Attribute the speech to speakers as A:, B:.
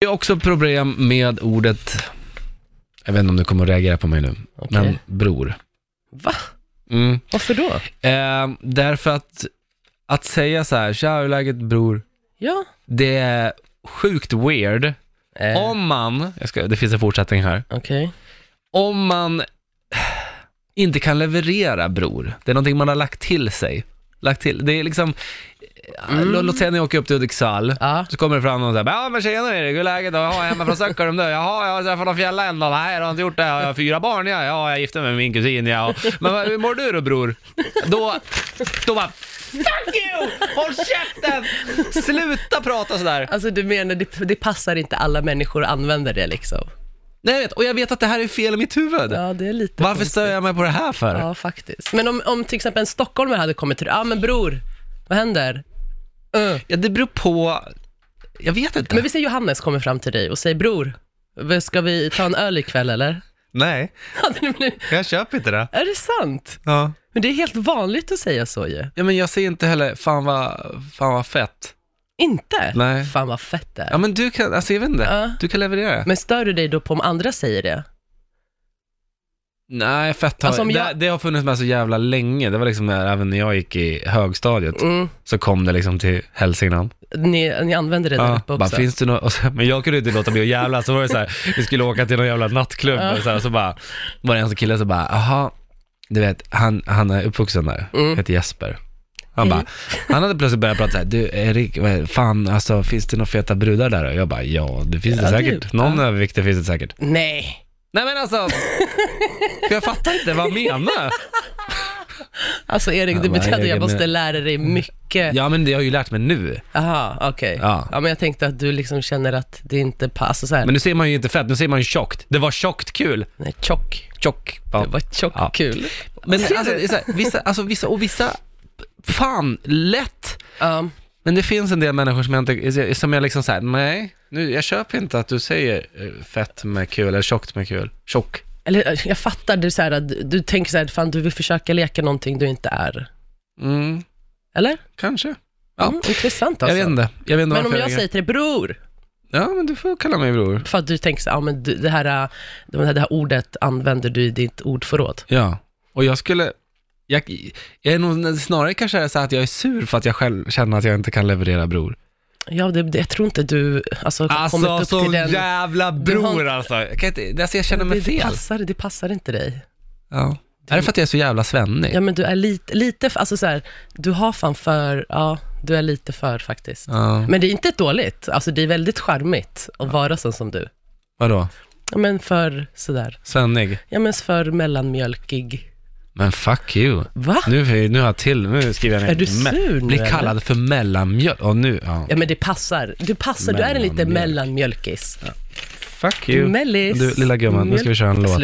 A: Det är också problem med ordet, jag vet inte om du kommer att reagera på mig nu,
B: Okej.
A: men bror.
B: Va?
A: Mm.
B: Varför då?
A: Eh, därför att, att säga så här, tja hur är läget bror,
B: Ja.
A: det är sjukt weird.
B: Eh,
A: Om man, jag ska, det finns en fortsättning här,
B: Okej.
A: om man inte kan leverera bror, det är någonting man har lagt till sig. Lagt till, det är liksom,
B: Mm.
A: lå- låt säga när jag åker upp till Hudiksvall,
B: Ja.
A: Så kommer det fram någon såhär, ja men tjenare Erik, hur är läget då? Ja, jag är hemma från Stockholm du. Jaha, jag har träffat någon fjälla en dag. Nej, du har inte gjort det. Jag har fyra barn ja. Ja, jag gifte mig med min kusin ja. Och, Men vad- hur mår du då bror? Då, då bara, fuck you! Håll käften! Sluta prata sådär.
B: Alltså du menar, det, det passar inte alla människor att använda det liksom?
A: Nej, jag vet, och jag vet att det här är fel i mitt huvud.
B: Ja, det är lite
A: Varför
B: konstigt.
A: stör jag mig på det här för?
B: Ja, faktiskt. Men om, om till exempel en stockholmare hade kommit till dig, ja ah, men bror, vad händer? Uh.
A: Ja, det beror på, jag vet inte.
B: Men vi säger Johannes kommer fram till dig och säger, bror, vad, ska vi ta en öl ikväll eller?
A: Nej,
B: Hade ni blivit-
A: jag köper inte det.
B: är det sant?
A: Ja.
B: Men det är helt vanligt att säga så ju.
A: ja, men jag ser inte heller, fan vad, fan vad fett.
B: Inte?
A: Nej.
B: Fan vad fett det är.
A: Ja men du kan, alltså jag vet inte,
B: Ja.
A: du kan leverera.
B: Men stör du dig då på om andra säger det?
A: Nej, fett har,
B: Alltså, om
A: det,
B: jag-
A: det har funnits med så jävla länge. Det var liksom när, även när jag gick i högstadiet,
B: Mm.
A: så kom det liksom till Hälsingland.
B: Ni, ni använder det där uppe
A: bara,
B: också?
A: finns det något? Och så, men jag kunde inte låta bli att jävla så var det så här, vi skulle åka till någon jävla nattklubb
B: Ja.
A: och så, här, så bara, var det en sån kille som bara, aha, du vet, han, han är uppvuxen där,
B: Mm.
A: heter Jesper. Han bara, han hade plötsligt börjat prata såhär, du Erik, vad- fan alltså finns det några feta brudar där? Och jag bara, ja det finns det
B: Ja, det-
A: säkert. Någon överviktig finns det säkert.
B: Nej.
A: Nej men alltså, jag fattar inte vad han menar.
B: Alltså Erik,
A: Ja,
B: det betyder
A: men-
B: att jag måste
A: men-
B: lära dig mycket.
A: Mm. Ja men det har jag ju lärt mig nu.
B: Aha, okej.
A: Ja.
B: Ja. men jag tänkte att du liksom känner att det inte passar så här.
A: Men nu ser man ju inte fett, nu ser man ju tjockt. Det var tjockt kul.
B: Nej, tjock.
A: Tjock. Ja.
B: Det var tjock
A: Ja.
B: kul.
A: Men
B: Ser
A: alltså,
B: du?
A: det är så här, vissa, alltså vissa, och vissa, fan, lätt.
B: Ja.
A: Men det finns en del människor som jag inte, som jag liksom såhär, nej, nu, jag köper inte att du säger eh, fett med kul, eller tjockt med kul. Tjock.
B: Eller jag fattar, du, så här, att du- du tänker så här, fan du vill försöka leka någonting du inte är.
A: Mm,
B: Eller?
A: kanske. Ja.
B: Mm, intressant
A: Jag
B: alltså.
A: vet inte. Jag vet inte
B: Men
A: varför
B: om jag
A: ringer.
B: säger till dig bror,
A: Ja, men du får kalla mig bror.
B: för att du tänker så här, ja men du, det, här, äh, det här det här ordet använder du i ditt ordförråd.
A: Ja, och jag skulle, jag, jag är nog snarare kanske är det så här att jag är sur för att jag själv känner att jag inte kan leverera bror.
B: Ja, det, det, jag tror inte du alltså, har kommit upp
A: Alltså
B: till
A: som
B: den...
A: jävla
B: Du har
A: bror
B: inte-
A: alltså. Jag, kan inte, alltså. jag känner mig
B: det, det,
A: fel.
B: passar, det passar inte dig.
A: Ja. Är det för att jag är så jävla svennig?
B: Ja, men du är lite, lite alltså så här, du har fan för, ja, du är lite för faktiskt.
A: Ja.
B: Men det är inte dåligt, alltså det är väldigt charmigt att vara sån som du.
A: Vadå?
B: Ja, men för sådär,
A: Svennig?
B: ja men för mellanmjölkig.
A: Men fuck you.
B: Va?
A: Nu, nu har jag till, nu skriver jag ner.
B: Är du
A: Me-
B: sur nu,
A: Blir
B: eller?
A: kallad för mellanmjöl. Och nu, ja.
B: Ja men det passar, du passar, du är en lite
A: Mellanmjölk.
B: mellanmjölkis.
A: Fuck you.
B: Mellis.
A: Du lilla gumman, nu ska vi köra en låt.